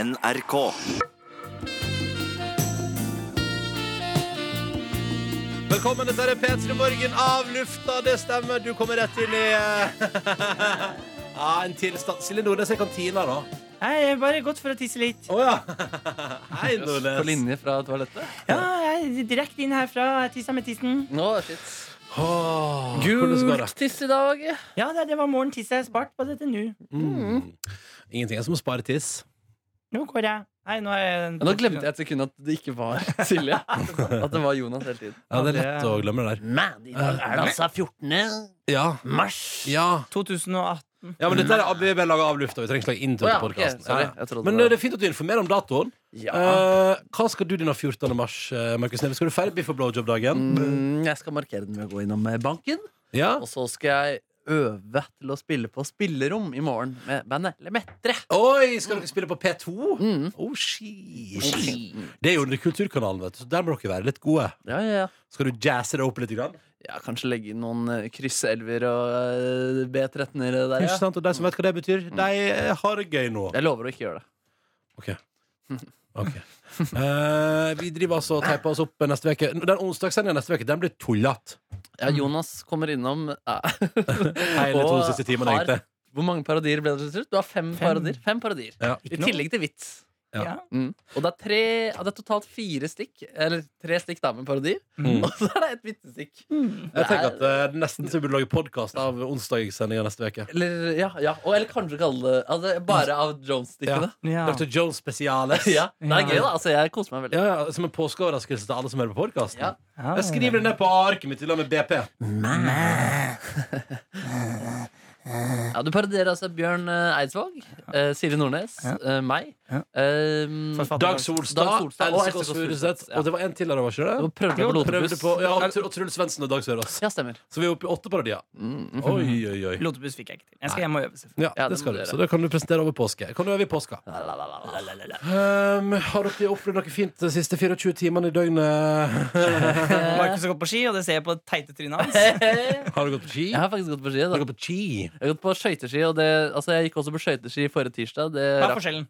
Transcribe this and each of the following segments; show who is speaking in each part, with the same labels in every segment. Speaker 1: NRK.
Speaker 2: Velkommen, dette er P3 Morgen av lufta. Det stemmer, du kommer rett inn i eh, ja, en tilstand. Silje Nordnes er i kantina, da.
Speaker 3: Nei, jeg er bare gått for å tisse litt.
Speaker 2: Å ja. Hei,
Speaker 4: På
Speaker 2: Nordnes.
Speaker 4: linje fra toalettet?
Speaker 3: Ja, jeg er direkte inn herfra. Jeg tissa med tissen.
Speaker 4: Nå, shit.
Speaker 2: Åh, Ah, hvordan går det?
Speaker 4: Gult tiss i dag.
Speaker 3: Ja, det, det var morgentisset. Jeg har spart på dette nå.
Speaker 2: Mm. Ingenting er som å spare tiss.
Speaker 3: Nå går jeg. Nei, nå er jeg
Speaker 4: Nå glemte jeg et sekund at det ikke var Silje. At det var Jonas hele tiden.
Speaker 2: Ja, det er lett å glemme det der.
Speaker 5: Men i dag er det altså 14.
Speaker 2: Ja.
Speaker 5: mars.
Speaker 2: Ja,
Speaker 3: 2018.
Speaker 2: ja men dette er vi er bare laget av lufta. Vi trenger ikke lage intro
Speaker 4: Å
Speaker 2: til
Speaker 4: ja, ok,
Speaker 2: podcasten.
Speaker 4: sorry.
Speaker 2: Ja, ja.
Speaker 4: Jeg trodde
Speaker 2: Men
Speaker 4: det var-
Speaker 2: eh, det er fint at du informerer om datoen. Eh, hva skal du denne 14. mars, eh, Markus Neve? Skal du feire Biff og blowjob-dagen?
Speaker 4: Mm, jeg skal markere den med å gå innom eh, banken.
Speaker 2: Ja.
Speaker 4: Og så skal jeg øve til å spille på spillerom i morgen med bandet Lemetre.
Speaker 2: Oi, skal dere spille på P2? Oh, shit. Det er jo under Kulturkanalen, vet du, så der må dere være litt gode.
Speaker 4: Ja, ja, ja.
Speaker 2: Skal du jazze det opp litt? Grann?
Speaker 4: ja, kanskje legge inn noen eh, krysselver og eh, B13-ere
Speaker 2: Ikke
Speaker 4: der. Ja.
Speaker 2: sant? Og de som vet hva det betyr, de eh, har det gøy nå.
Speaker 4: Jeg lover å ikke gjøre det.
Speaker 2: Mm. Ok, Ok. Eh, vi driver altså og teiper oss opp neste uke. Den onsdagssendinga neste uke den blir tullete.
Speaker 4: Ja, Jonas kommer innom.
Speaker 2: Hele
Speaker 4: Hele
Speaker 2: to siste timene, egentlig.
Speaker 4: Hvor mange parodier ble det til slutt? Du har fem,
Speaker 3: Fem.
Speaker 4: parodier. Fem parodier.
Speaker 2: Ja.
Speaker 4: I tillegg til vits.
Speaker 2: Ja.
Speaker 3: Ja.
Speaker 4: Mm. Og det er, tre, ja, det er totalt fire stikk, eller tre stikk da med parodier.
Speaker 2: Mm.
Speaker 4: Og så er det et vitsestikk.
Speaker 2: Jeg tenker at eh, Nesten så vi burde lage podkast av onsdagssendinga neste uke.
Speaker 4: Eller, ja, ja. Og, eller kanskje kalle det altså, bare av Jones-stikkene.
Speaker 3: Ja.
Speaker 2: Dr. Jones Spesiales.
Speaker 4: Ja. Det er gøy, da. Altså, jeg koser meg veldig.
Speaker 2: Ja, ja, som en påskeoverraskelse til alle som hører på podkasten.
Speaker 4: Ja.
Speaker 3: Ja.
Speaker 2: Jeg skriver det ned på arket mitt i lag med BP.
Speaker 4: Ja, du parodierer altså Bjørn eh, Eidsvåg, eh, Siri Nordnes, eh, meg.
Speaker 3: Ja.
Speaker 4: ehm,
Speaker 3: Forfatter.
Speaker 2: Dag Solstad,
Speaker 4: Dag Solstad
Speaker 2: og Else
Speaker 4: og Else
Speaker 2: Kåss
Speaker 4: Kåss
Speaker 2: Furuseth.
Speaker 4: Furuseth, ja.
Speaker 2: Og det var en til der, var ikke
Speaker 4: og
Speaker 2: det?
Speaker 4: prøvde på
Speaker 2: Prøvde
Speaker 4: Lotepus.
Speaker 2: på, ja, og Tr- og Truls Svendsen og Dag Sørås.
Speaker 4: Ja, stemmer.
Speaker 2: Så vi er oppe i åtte parodier. Oi, oi, oi.
Speaker 3: Pilotebuss fikk jeg ikke til. Jeg skal hjem og øve. selvfølgelig.
Speaker 2: Ja,
Speaker 4: Ja,
Speaker 2: det
Speaker 4: det
Speaker 2: skal
Speaker 4: må
Speaker 2: du.
Speaker 4: dere.
Speaker 2: Så det kan du presentere over påske. Kan du øve i påska? Um, har dere opplevd noe fint de siste 24 timene i døgnet?
Speaker 3: Markus har gått på ski, og det ser jeg på det teite trynet hans.
Speaker 2: Har du gått på ski?
Speaker 4: Jeg har faktisk gått på ski.
Speaker 2: Har
Speaker 4: Da.
Speaker 2: du gått på ski?
Speaker 4: Jeg har gått på skøyteski, og det, altså, jeg gikk også på skøyteski forrige tirsdag. Det
Speaker 3: Hva er
Speaker 4: rakk-
Speaker 3: forskjellen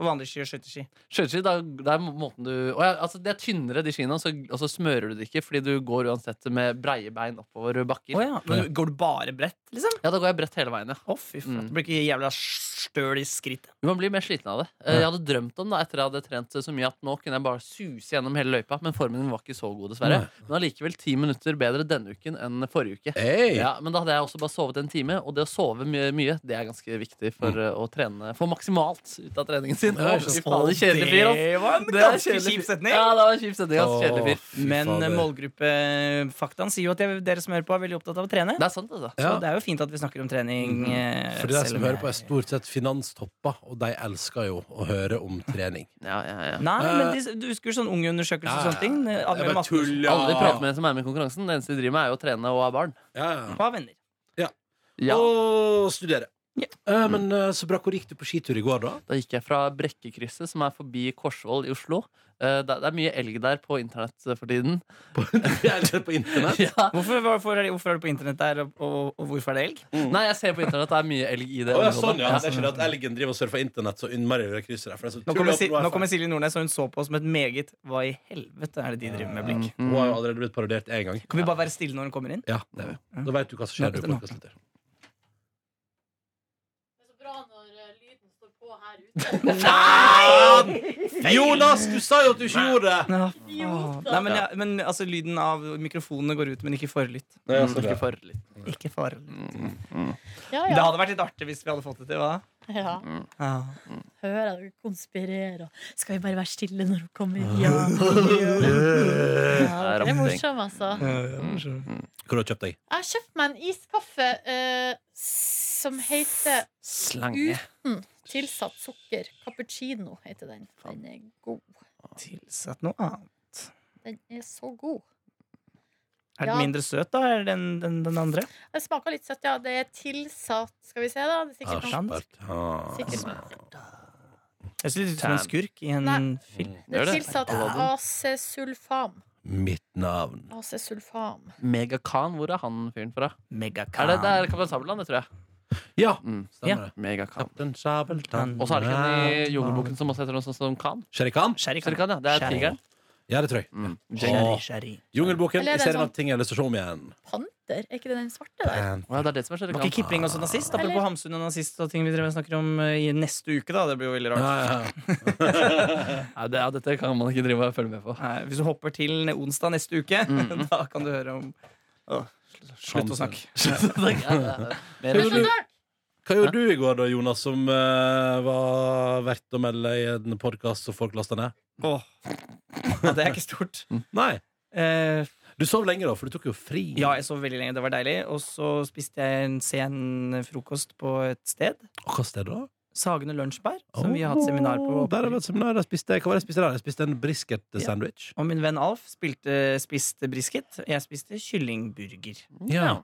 Speaker 3: på vanlig ski og skøyteski?
Speaker 4: Skjøteski, da, det er må- måten du og ja, altså, Det er tynnere de skiene, og så, og så smører du det ikke, fordi du går uansett med breie bein oppover bakker.
Speaker 3: Å ja. Men Går du bare bredt, liksom?
Speaker 4: Ja, da går jeg bredt hele veien, ja.
Speaker 3: Å, fy faen.
Speaker 4: Mm.
Speaker 3: Du blir ikke jævla støl i skrittet.
Speaker 4: Men Man blir mer sliten av det. Eh, Jeg hadde drømt om det etter jeg hadde trent så mye at nå kunne jeg bare suse gjennom hele løypa, men formen min var ikke så god, dessverre. Men allikevel ti minutter bedre denne uken enn forrige uke.
Speaker 2: Hey.
Speaker 4: Ja, men da hadde jeg også bare sovet en time, og det å sove mye, mye det er ganske viktig for eh, å trene Få maksimalt ut av treningen sin.
Speaker 2: Ja,
Speaker 4: Å,
Speaker 2: ikke
Speaker 4: fy
Speaker 2: sant.
Speaker 4: faen, det er kjedelig fyr, ass.
Speaker 3: Det var en
Speaker 4: Det er
Speaker 3: ganske
Speaker 4: kjedelig
Speaker 3: kjip
Speaker 4: fyr.
Speaker 3: setning.
Speaker 4: Ja, det var en kjip setning. ass. Kjedelig fyr.
Speaker 2: Å, fy
Speaker 3: Men eh,
Speaker 2: fader.
Speaker 3: målgruppefaktaen sier jo at jeg, dere som hører på, er veldig opptatt av å trene.
Speaker 4: Det er sant, altså.
Speaker 3: Så
Speaker 2: Ja. Mhm.
Speaker 3: det er jo fint at vi snakker om trening. eh,
Speaker 2: For de
Speaker 3: selv
Speaker 2: som
Speaker 3: om
Speaker 2: hører på, er
Speaker 3: jeg-
Speaker 2: stort sett finanstopper, og de elsker jo å høre om trening.
Speaker 4: Ja, ja, ja.
Speaker 3: Nei, men
Speaker 2: Eh,
Speaker 3: de, du husker sånn ungeundersøkelse og
Speaker 2: Ja,
Speaker 3: sånne ting? eh,
Speaker 2: Jeg
Speaker 3: Admiral
Speaker 2: bare
Speaker 3: Madsen
Speaker 2: tuller.
Speaker 4: Alle de prater med som er med i konkurransen, det eneste de driver med, er jo å trene og ha barn.
Speaker 2: Ja, ja.
Speaker 3: var venner.
Speaker 4: Ja,
Speaker 2: Og studere.
Speaker 3: Ja.
Speaker 2: Eh, men eh, så bra, hvor gikk du på skitur i går, da?
Speaker 4: Da gikk jeg fra Brekkekrysset, som er forbi Korsvoll i Oslo. Eh, Det det er mye elg der på internett eh, for tiden.
Speaker 2: Eller på internett?
Speaker 4: Ja.
Speaker 3: Hvorfor, hvorfor, er, de- hvorfor er det på internett der, og, og, og hvorfor er det elg?
Speaker 4: Nei, jeg ser på internett at det er mye elg i det.
Speaker 2: Å, ja,
Speaker 4: området.
Speaker 2: sånn, ja.
Speaker 4: Ja.
Speaker 2: Det er ikke det at elgen driver og surfer internett så innmari over krysset der. For det er så
Speaker 3: Nå kommer,
Speaker 2: tull
Speaker 3: si,
Speaker 2: opp på
Speaker 3: nå
Speaker 2: wifi.
Speaker 3: kommer Silje Nordnes, og hun så på oss med et meget Hva i helvete er det de driver med blikk?
Speaker 2: Hun har jo allerede blitt parodiert én gang.
Speaker 3: Kan vi bare være stille når hun kommer inn?
Speaker 2: Ja, det er vi. Da veit du hva som skjer.
Speaker 3: Nei,
Speaker 2: når du
Speaker 3: nå.
Speaker 2: podcastlytter.
Speaker 6: Det er så bra når eh, lyden står på her ute.
Speaker 2: Jonas, du sa jo at du ikke gjorde det!
Speaker 3: Ja, faen. Nei, men, ja, men altså, lyden av mikrofonene går ut, men ikke forlytt.
Speaker 2: Nei,
Speaker 4: Mm,
Speaker 3: Ikke
Speaker 4: Ikke for litt.
Speaker 2: Mm.
Speaker 3: forlytt.
Speaker 6: Ja,
Speaker 3: Det
Speaker 6: ja.
Speaker 3: hadde vært litt artig hvis vi hadde fått det til, hva?
Speaker 6: ja.
Speaker 3: Ja.
Speaker 6: Hører at hun konspirerer. Skal vi bare være stille når hun kommer? Ja. ja det er morsom, altså.
Speaker 3: Eh,
Speaker 2: Hvor har du kjøpt deg?
Speaker 6: Jeg har kjøpt meg en iskaffe eh, som heter
Speaker 4: Slange.
Speaker 6: Tilsatt sukker. Cappuccino heter den. Den er god.
Speaker 3: Tilsett noe annet.
Speaker 6: Den er så god.
Speaker 3: Er den
Speaker 6: Ja.
Speaker 3: mindre søt, da? Er den, den, den andre?
Speaker 6: Den smaker litt søtt, ja. Det er tilsatt Skal vi se, da. Det er
Speaker 2: Ah,
Speaker 6: sikkert noe.
Speaker 3: sant.
Speaker 2: spart. Ah.
Speaker 6: Sikkert noe.
Speaker 3: Jeg ser litt ut som en
Speaker 4: Tan.
Speaker 3: skurk i en
Speaker 6: Nei. Mm.
Speaker 3: film.
Speaker 6: Det
Speaker 4: Gjør
Speaker 6: er
Speaker 4: det.
Speaker 6: tilsatt acesulfam.
Speaker 2: Mitt navn.
Speaker 6: Acesulfam.
Speaker 4: Mega Khan, hvor er han fyren fra?
Speaker 3: Megakan.
Speaker 4: Er det, det er Kaptein Sabeltann, det tror jeg.
Speaker 2: Ja,
Speaker 4: Mm.
Speaker 2: stemmer det.
Speaker 4: Megakan.
Speaker 2: Kaptein Sabeltann
Speaker 4: Og så er det ikke den i Jungelboken som også heter noe sånt som Kan.
Speaker 2: Sherry Khan?
Speaker 4: Serikan, ja. Det er
Speaker 5: Sherry.
Speaker 4: tigeren.
Speaker 2: Ja, det tror jeg.
Speaker 4: Mm.
Speaker 2: Åh. Jungelboken i
Speaker 6: Eller er det
Speaker 2: serien
Speaker 6: sånn-
Speaker 2: av ting jeg har lyst til å se om igjen.
Speaker 6: Panter? Er ikke det den svarte der?
Speaker 4: Å ja, det er det som er
Speaker 3: Var ikke
Speaker 4: Serikan.
Speaker 3: Kipling også nazist? Apropos
Speaker 6: Eller-
Speaker 3: Hamsun og nazist og ting vi driver og snakker om eh, i neste uke, da. Det blir jo veldig rart.
Speaker 2: Ja, ja, ja.
Speaker 4: Ja, det, ja, dette kan man ikke drive og følge med på.
Speaker 3: Nei, hvis du hopper til ne- onsdag neste uke, da kan du høre om Åh, sl- Slutt å snakke.
Speaker 2: Hva
Speaker 4: Mer enn
Speaker 2: gjorde,
Speaker 4: slutt.
Speaker 2: du, hva gjorde du i går da, Jonas, som eh, var verdt å melde i en podkast som folk lasta ned?
Speaker 3: Åh. Ja, det er ikke stort.
Speaker 2: Nei.
Speaker 3: Eh,
Speaker 2: Du sov lenge, da, for du tok jo fri.
Speaker 3: ja, jeg sov veldig lenge. Det var deilig. Og så spiste jeg en sen frokost på et sted.
Speaker 2: Og Hva sted da?
Speaker 3: Sagene lunsjbær, som vi har hatt seminar på.
Speaker 2: Åh, Der har vi hatt seminar. Der spiste, jeg- hva var det jeg spiste der? Jeg spiste en brisket-sandwich.
Speaker 3: Og min venn Alf spilte, spiste brisket. Jeg spiste kyllingburger.
Speaker 2: Ja.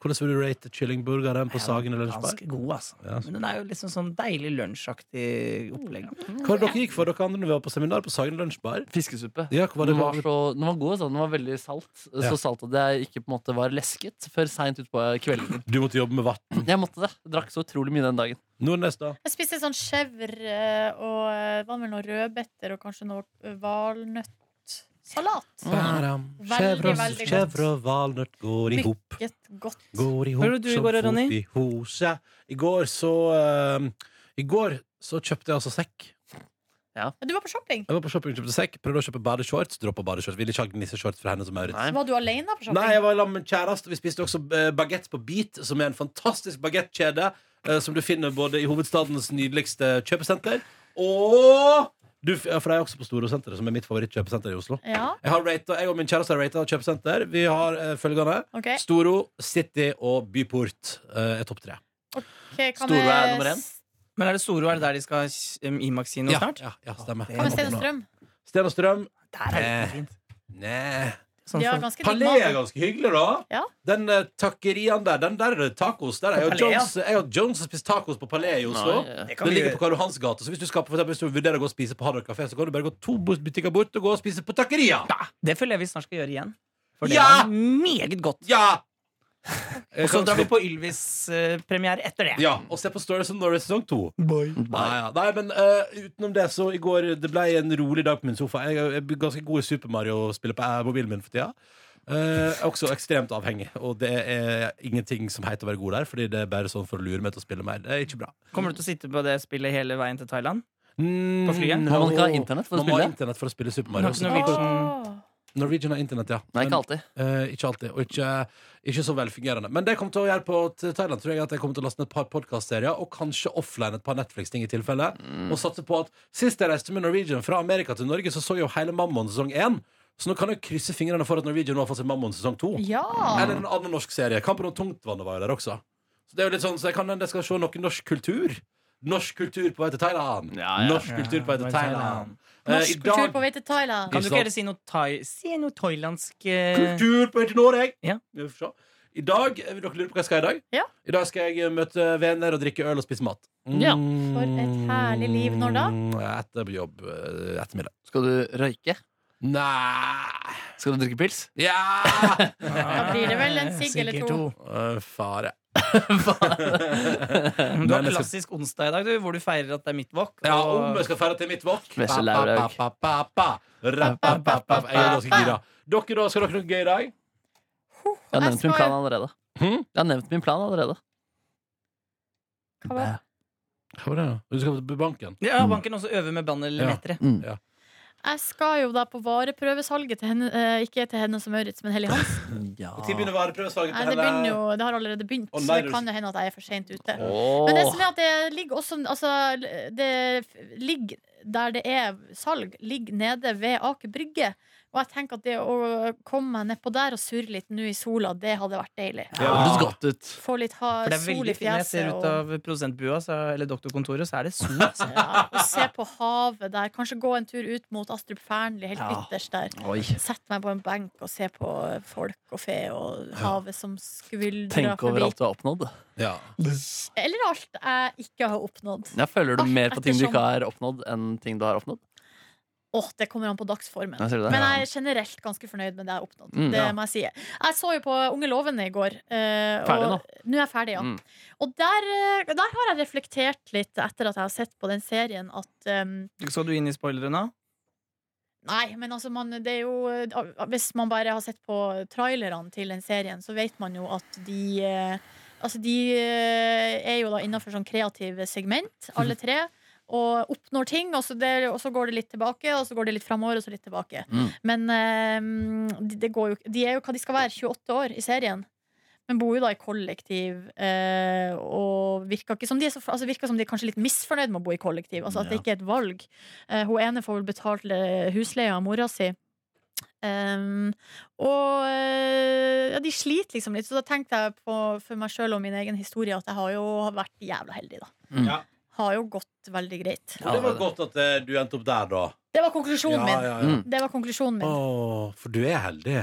Speaker 2: Hvordan vil du rate kyllingburgeren på
Speaker 3: Ja,
Speaker 2: Sagen eller Lunsjberg?
Speaker 3: Ganske god, altså.
Speaker 2: Ja, så-
Speaker 3: Men den er jo liksom sånn deilig lunsjaktig opplegg.
Speaker 2: Hva var det dere gikk for, dere andre, når vi var på seminar på Sagen Lunsjbar?
Speaker 4: Fiskesuppe.
Speaker 2: Ja, hva var det
Speaker 4: Den var,
Speaker 2: var-
Speaker 4: så, den var god, sånn. den var veldig salt.
Speaker 2: Ja.
Speaker 4: Så salt at jeg ikke på en måte var lesket før seint utpå kvelden.
Speaker 2: Du måtte jobbe med vann.
Speaker 4: Jeg måtte det. Drakk så utrolig mye den dagen.
Speaker 2: Nordnes, da?
Speaker 6: Jeg spiste sånn chèvre eh, og eh, hva med noe rødbeter og kanskje noe eh,
Speaker 2: Mm.
Speaker 6: valnøttsalat.
Speaker 2: Bæram.
Speaker 6: Veldig,
Speaker 2: Chèvre
Speaker 6: veldig godt.
Speaker 2: chèvre og valnøtt går i hop.
Speaker 6: Meget godt.
Speaker 2: Går i
Speaker 3: Hva gjorde
Speaker 2: hop
Speaker 3: du i
Speaker 2: som
Speaker 3: går,
Speaker 2: fot
Speaker 3: Ronny?
Speaker 2: i hose. I går så eh, I går så kjøpte jeg altså sekk.
Speaker 6: Men du var på shopping.
Speaker 2: Jeg var på shopping og kjøpte sekk. Prøvde å kjøpe badeshorts. Droppa badeshorts. Ville ikke ha gnisseshorts fra henne som Maurits.
Speaker 4: Nei.
Speaker 6: Var du alene på shopping?
Speaker 2: Nei, jeg var sammen med en kjæreste. og Vi spiste også eh, baguette på Beat, som er en fantastisk baguettkjede eh, som du finner både i hovedstadens nydeligste kjøpesenter og du, f- ja, For det er også på Storosenteret, som er mitt favorittkjøpesenter i Oslo.
Speaker 6: Ja,
Speaker 2: Jeg, har ratet, jeg og min kjæreste har rata kjøpesenter. Vi har eh, følgende.
Speaker 6: ok.
Speaker 2: Storo, City og Byport eh, er topp tre.
Speaker 6: Ok, kan
Speaker 4: Storo er
Speaker 6: vi-
Speaker 4: nummer én.
Speaker 3: Men er det Storo? Er det der de skal um, Imax-si nå
Speaker 2: Ja,
Speaker 3: snart?
Speaker 2: ja, ja, stemmer.
Speaker 6: Kan vi Sten og Strøm?
Speaker 2: Sten og Strøm.
Speaker 3: Der er det
Speaker 2: Eh.
Speaker 3: fint.
Speaker 2: Nei.
Speaker 3: Sånn
Speaker 6: De har
Speaker 3: for-
Speaker 6: ganske digg
Speaker 2: Palais er
Speaker 6: mat.
Speaker 2: ganske hyggelig, da.
Speaker 6: Ja.
Speaker 2: Den eh, takkerian der, den der er det tacos. Der er jo
Speaker 3: Palais, ja.
Speaker 2: Jones, jeg og Jones har spist tacos på Palais i Oslo.
Speaker 4: Nei, eh,
Speaker 3: det
Speaker 2: Det
Speaker 3: kan vi
Speaker 2: ligger på
Speaker 3: gjøre.
Speaker 2: Karl Johans gate. Så hvis du, skal, på- for eksempel, hvis du vurderer å gå og spise på Hardrock kafé, så kan du bare gå to bu- butikker bort og gå og spise på Taqueria.
Speaker 3: Det føler jeg vi snart skal gjøre igjen. For det
Speaker 2: Ja!
Speaker 3: var meget godt.
Speaker 2: Ja! Eh,
Speaker 3: Og så drar vi på Ylvis-premiere etter det.
Speaker 2: Ja, og se på Stories of Norway sesong to.
Speaker 3: Boy.
Speaker 2: Nei, ja. Nei, men eh, utenom det, så i går Det ble en rolig dag på min sofa. Jeg er jeg er ganske god i Super Mario å spille på eh, mobilen min for tida. Eh, jeg er også ekstremt avhengig, og det er ingenting som heter å være god der. Fordi det er bare sånn for å lure meg til å spille mer. Det er ikke bra.
Speaker 3: Kommer du til å sitte på det spillet hele veien til Thailand?
Speaker 2: Mm,
Speaker 3: flyet?
Speaker 4: Må man ikke ha internett for å
Speaker 2: Man må ha
Speaker 4: spille?
Speaker 2: internett for å spille Super
Speaker 3: Har
Speaker 2: Mario.
Speaker 3: ikke
Speaker 2: Så
Speaker 3: noe vilkår.
Speaker 6: Åh.
Speaker 2: Norwegian har internett, ja.
Speaker 4: Nei,
Speaker 2: Men-
Speaker 4: ikke alltid.
Speaker 2: Eh, ikke alltid, og ikke, ikke så velfungerende. Men det jeg kommer til å gjøre på t- Thailand, tror jeg at jeg kommer til å laste ned et par podkastserier, og kanskje offline et par Netflix-ting i tilfelle.
Speaker 4: Mm.
Speaker 2: Og satse på at Sist jeg reiste med Norwegian fra Amerika til Norge, så så jeg jo hele Mammon sesong én. Så nå kan jeg krysse fingrene for at Norwegian nå har fått seg Mammon sesong to.
Speaker 6: Ja.
Speaker 2: Eller en annen norsk serie. Kampen om tungtvannet var jo der også. Så det er jo litt sånn, så jeg kan jeg skal se noe norsk kultur. Norsk kultur på vei til Thailand.
Speaker 4: Ja, ja.
Speaker 2: Norsk kultur på vei til
Speaker 3: Ja,
Speaker 2: Thailand. Eh, i
Speaker 6: Norsk kultur
Speaker 2: dag-
Speaker 6: på vei til Thailand.
Speaker 3: Kan du ikke heller si noe, thai, si noe thailandsk eh,
Speaker 2: Kultur på Etinor, jeg.
Speaker 3: Ja.
Speaker 2: Vi får se. I dag, Vil dere lure på hva jeg skal i dag?
Speaker 6: Ja.
Speaker 2: I dag skal jeg møte venner og drikke øl og spise mat. Mm,
Speaker 4: Ja.
Speaker 6: For et herlig liv. Når da?
Speaker 2: Etter på jobb eh, ettermiddag.
Speaker 4: Skal du røyke?
Speaker 2: Nei
Speaker 4: Skal du drikke pils?
Speaker 2: Ja!
Speaker 6: Da blir det vel en sigg eller
Speaker 3: Sikkert
Speaker 6: to.
Speaker 2: Eh, Fare.
Speaker 3: Du har
Speaker 2: Men jeg skal-
Speaker 3: klassisk onsdag i dag, du, hvor du feirer at det er mitt wok.
Speaker 2: Ja,
Speaker 3: og-
Speaker 2: om jeg skal feire til mitt wok.
Speaker 4: Vesle
Speaker 2: Ba, ba,
Speaker 4: Lauraug.
Speaker 2: ba, ba, ba. Ra, ba, ba, ba. Jeg er ganske gira. Dere, da? Skal dere ha noe gøy i dag?
Speaker 4: Jeg har
Speaker 6: Jeg
Speaker 4: nevnt min
Speaker 6: skal-
Speaker 4: plan allerede.
Speaker 2: Hm?
Speaker 4: Jeg har nevnt min plan allerede.
Speaker 6: Hva var-
Speaker 2: Hva var det? da? Du skal på banken?
Speaker 3: Ja, banken også øver med bann eller
Speaker 2: Ja.
Speaker 3: lettere.
Speaker 4: Mm.
Speaker 6: Jeg skal jo da på vareprøvesalget til henne, eh, ikke til henne som Maurits, men Hellig Hans.
Speaker 4: Ja.
Speaker 2: Når begynner vareprøveslaget
Speaker 6: Nei, det, begynner jo, det har allerede begynt,
Speaker 2: Å,
Speaker 6: så
Speaker 2: nei,
Speaker 6: det
Speaker 2: du-
Speaker 6: kan jo hende at jeg er for seint ute.
Speaker 4: Åh.
Speaker 6: Men det som er at det ligger også altså, Det f- ligger der det er salg, ligger nede ved Aker Brygge. Og jeg tenker at det å komme meg nedpå der og surre litt nå i sola, det hadde vært deilig.
Speaker 4: Det hørtes godt ut.
Speaker 6: Få litt ha,
Speaker 3: For det er
Speaker 6: sol
Speaker 3: veldig
Speaker 6: i
Speaker 3: fint. Når jeg ser
Speaker 6: fjeset
Speaker 3: ut
Speaker 6: og,
Speaker 3: av produsentbua så, eller doktorkontoret, så er det sol. altså.
Speaker 6: ja, og se på havet der. Kanskje gå en tur ut mot Astrup Fearnley, helt
Speaker 3: Ja.
Speaker 6: ytterst der.
Speaker 4: Oi.
Speaker 6: Sett meg på en benk og se på folk og fe og havet som skvuldrer
Speaker 4: Tenk over
Speaker 6: forbi.
Speaker 4: alt du har oppnådd.
Speaker 2: Ja.
Speaker 6: Eller alt jeg ikke har oppnådd.
Speaker 4: Jeg føler du
Speaker 6: Alt
Speaker 4: mer på ting du
Speaker 6: ettersom.
Speaker 4: ikke har oppnådd, enn ting du har oppnådd.
Speaker 6: Åh, det kommer an på dagsformen.
Speaker 4: Jeg ser det.
Speaker 6: Men jeg er generelt ganske fornøyd med det jeg har oppnådd.
Speaker 4: Mm,
Speaker 6: det
Speaker 4: ja.
Speaker 6: må jeg si. Jeg så jo på Unge lovende i går. eh,
Speaker 4: Ferdig
Speaker 6: og nå er jeg ferdig, ja.
Speaker 4: Mm.
Speaker 6: Og der, eh, der har jeg reflektert litt etter at jeg har sett på den serien at ehm,
Speaker 3: Skal du inn i spoilerne?
Speaker 6: Nei, men altså, man, det er jo eh, Hvis man bare har sett på trailerne til den serien, så vet man jo at de eh, Altså, de eh, er jo da innafor sånn kreative segment, alle tre. Og oppnår ting, og så, det, og så går det litt tilbake, og så går det litt framover, og så litt tilbake.
Speaker 4: Mm.
Speaker 6: Men eh, de, det går jo, de er jo hva de skal være, 28 år i serien. Men bor jo da i kollektiv, eh, og virker, ikke som de er så, altså virker som de er kanskje litt misfornøyd med å bo i kollektiv. Altså at det ikke er et valg. Eh, hun ene får vel betalt eh, husleia av mora si. Ehm, og eh, ja, de sliter liksom litt, så da tenkte jeg på for meg sjøl og min egen historie at jeg har jo vært jævla heldig, da.
Speaker 4: Mm.
Speaker 2: Ja.
Speaker 6: Har jo gått veldig greit.
Speaker 2: Og det var godt at eh, du endte opp der, da.
Speaker 6: Det var konklusjonen min.
Speaker 2: ja,
Speaker 4: Mm.
Speaker 6: Det var konklusjonen min.
Speaker 2: Å, for du er heldig.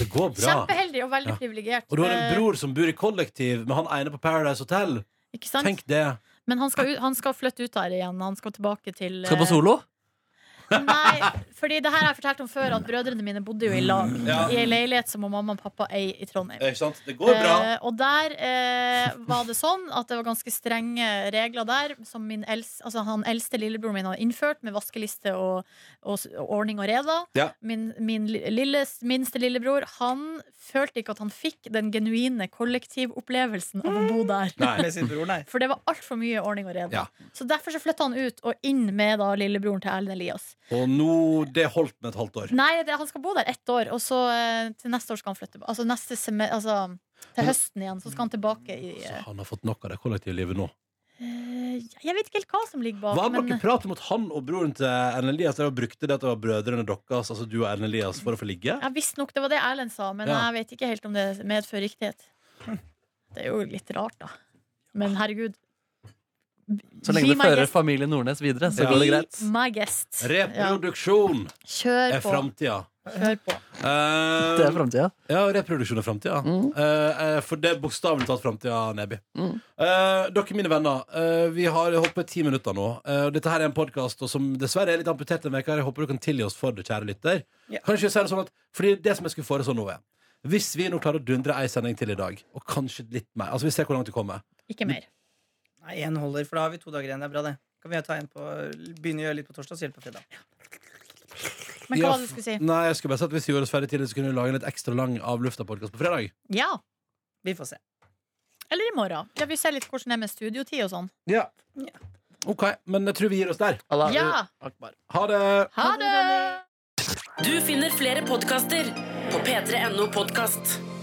Speaker 2: Det går bra.
Speaker 6: Kjempeheldig og veldig
Speaker 2: Ja.
Speaker 6: privilegert.
Speaker 2: Og du har en
Speaker 6: Eh,
Speaker 2: bror som bor i kollektiv med han ene på Paradise Hotel.
Speaker 6: Ikke sant?
Speaker 2: Tenk det.
Speaker 6: Men han skal, ut- han skal flytte ut der igjen. Han skal tilbake til
Speaker 4: Skal
Speaker 6: eh,
Speaker 4: på solo?
Speaker 6: Nei, fordi det her har jeg fortalt om før, at brødrene mine bodde jo i lag.
Speaker 2: Ja.
Speaker 6: I ei leilighet som mamma og pappa eier i Trondheim.
Speaker 2: Ikke sant? Det går bra.
Speaker 6: Eh, og der eh, var det sånn at det var ganske strenge regler der, som min els, altså han eldste lillebroren min har innført, med vaskeliste og, og, s- og ordning og reda.
Speaker 2: Ja.
Speaker 6: Min, min li- lille, minste lillebror, han følte ikke at han fikk den genuine kollektivopplevelsen av å bo der.
Speaker 2: Nei.
Speaker 3: Med sin bror, nei.
Speaker 6: For det var altfor mye ordning og reda.
Speaker 2: Ja.
Speaker 6: Så derfor så flytta han ut og inn med da lillebroren til Erlend Elias.
Speaker 2: Og nå Det holdt med et halvt år.
Speaker 6: Nei, det, han skal bo der ett år, og så eh, til neste år skal han flytte Altså neste sem altså, til
Speaker 2: Men-
Speaker 6: høsten igjen, så skal han tilbake i
Speaker 2: Så
Speaker 6: eh,
Speaker 2: han har fått nok av det kollektivlivet nå.
Speaker 6: Eh, Jeg vet ikke helt hva som ligger bak.
Speaker 2: Var det
Speaker 6: men
Speaker 2: noe prat om at han og broren til Erlend Elias der brukte det at det var brødrene deres, altså du og Erlend Elias, for å få ligge?
Speaker 6: jeg visste nok det var det Erlend sa, men
Speaker 2: Ja.
Speaker 6: jeg vet ikke helt om det medfører riktighet. Det er jo litt rart, da. Men herregud.
Speaker 4: Så lenge
Speaker 6: Be
Speaker 4: det
Speaker 6: my
Speaker 4: fører
Speaker 6: guest.
Speaker 4: familien Nordnes videre, så
Speaker 2: Ja.
Speaker 4: går det greit.
Speaker 6: Be my guest. Ja.
Speaker 2: Reproduksjon
Speaker 6: Kjør
Speaker 2: er
Speaker 6: på.
Speaker 2: framtida.
Speaker 6: Kjør på.
Speaker 2: Eh,
Speaker 4: Det er framtida.
Speaker 2: ja, reproduksjon er framtida.
Speaker 4: Mm.
Speaker 2: Eh, eh, for det er bokstavelig talt framtida, Neby.
Speaker 4: Mm.
Speaker 2: Eh, dere, mine venner, eh, vi har holdt på i ti minutter nå. Eh, dette her er en podkast som dessverre er litt amputert en uke. Jeg håper du kan tilgi oss for det, kjære lytter.
Speaker 3: Ja.
Speaker 2: Kanskje si det sånn at Fordi det som jeg skulle foreslå nå, er hvis vi nå klarer å dundre ei sending til i dag, og kanskje litt mer Altså Vi ser hvor langt vi kommer.
Speaker 6: Ikke mer.
Speaker 3: Nei, én holder, for da har vi to dager igjen. Det er bra, det. Kan vi ta en på, begynne å gjøre litt på torsdag, så hjelpe på fredag.
Speaker 6: Men
Speaker 2: Ja,
Speaker 6: hva var det du
Speaker 2: f-
Speaker 6: skulle si?
Speaker 2: Nei, jeg skulle bare si at Hvis vi gjorde oss ferdig tidlig, så kunne vi lage en litt ekstra lang Av lufta-podkast på fredag.
Speaker 6: Ja.
Speaker 3: Vi får se.
Speaker 6: Eller i morgen. Ja, vi ser litt hvordan det er med studiotid og sånn.
Speaker 2: Ok, Men jeg tror vi gir oss der.
Speaker 4: Allah,
Speaker 6: Ja.
Speaker 4: Akbar.
Speaker 2: Ha det!
Speaker 6: Ha det!
Speaker 1: Du finner flere podkaster på p3.no podkast.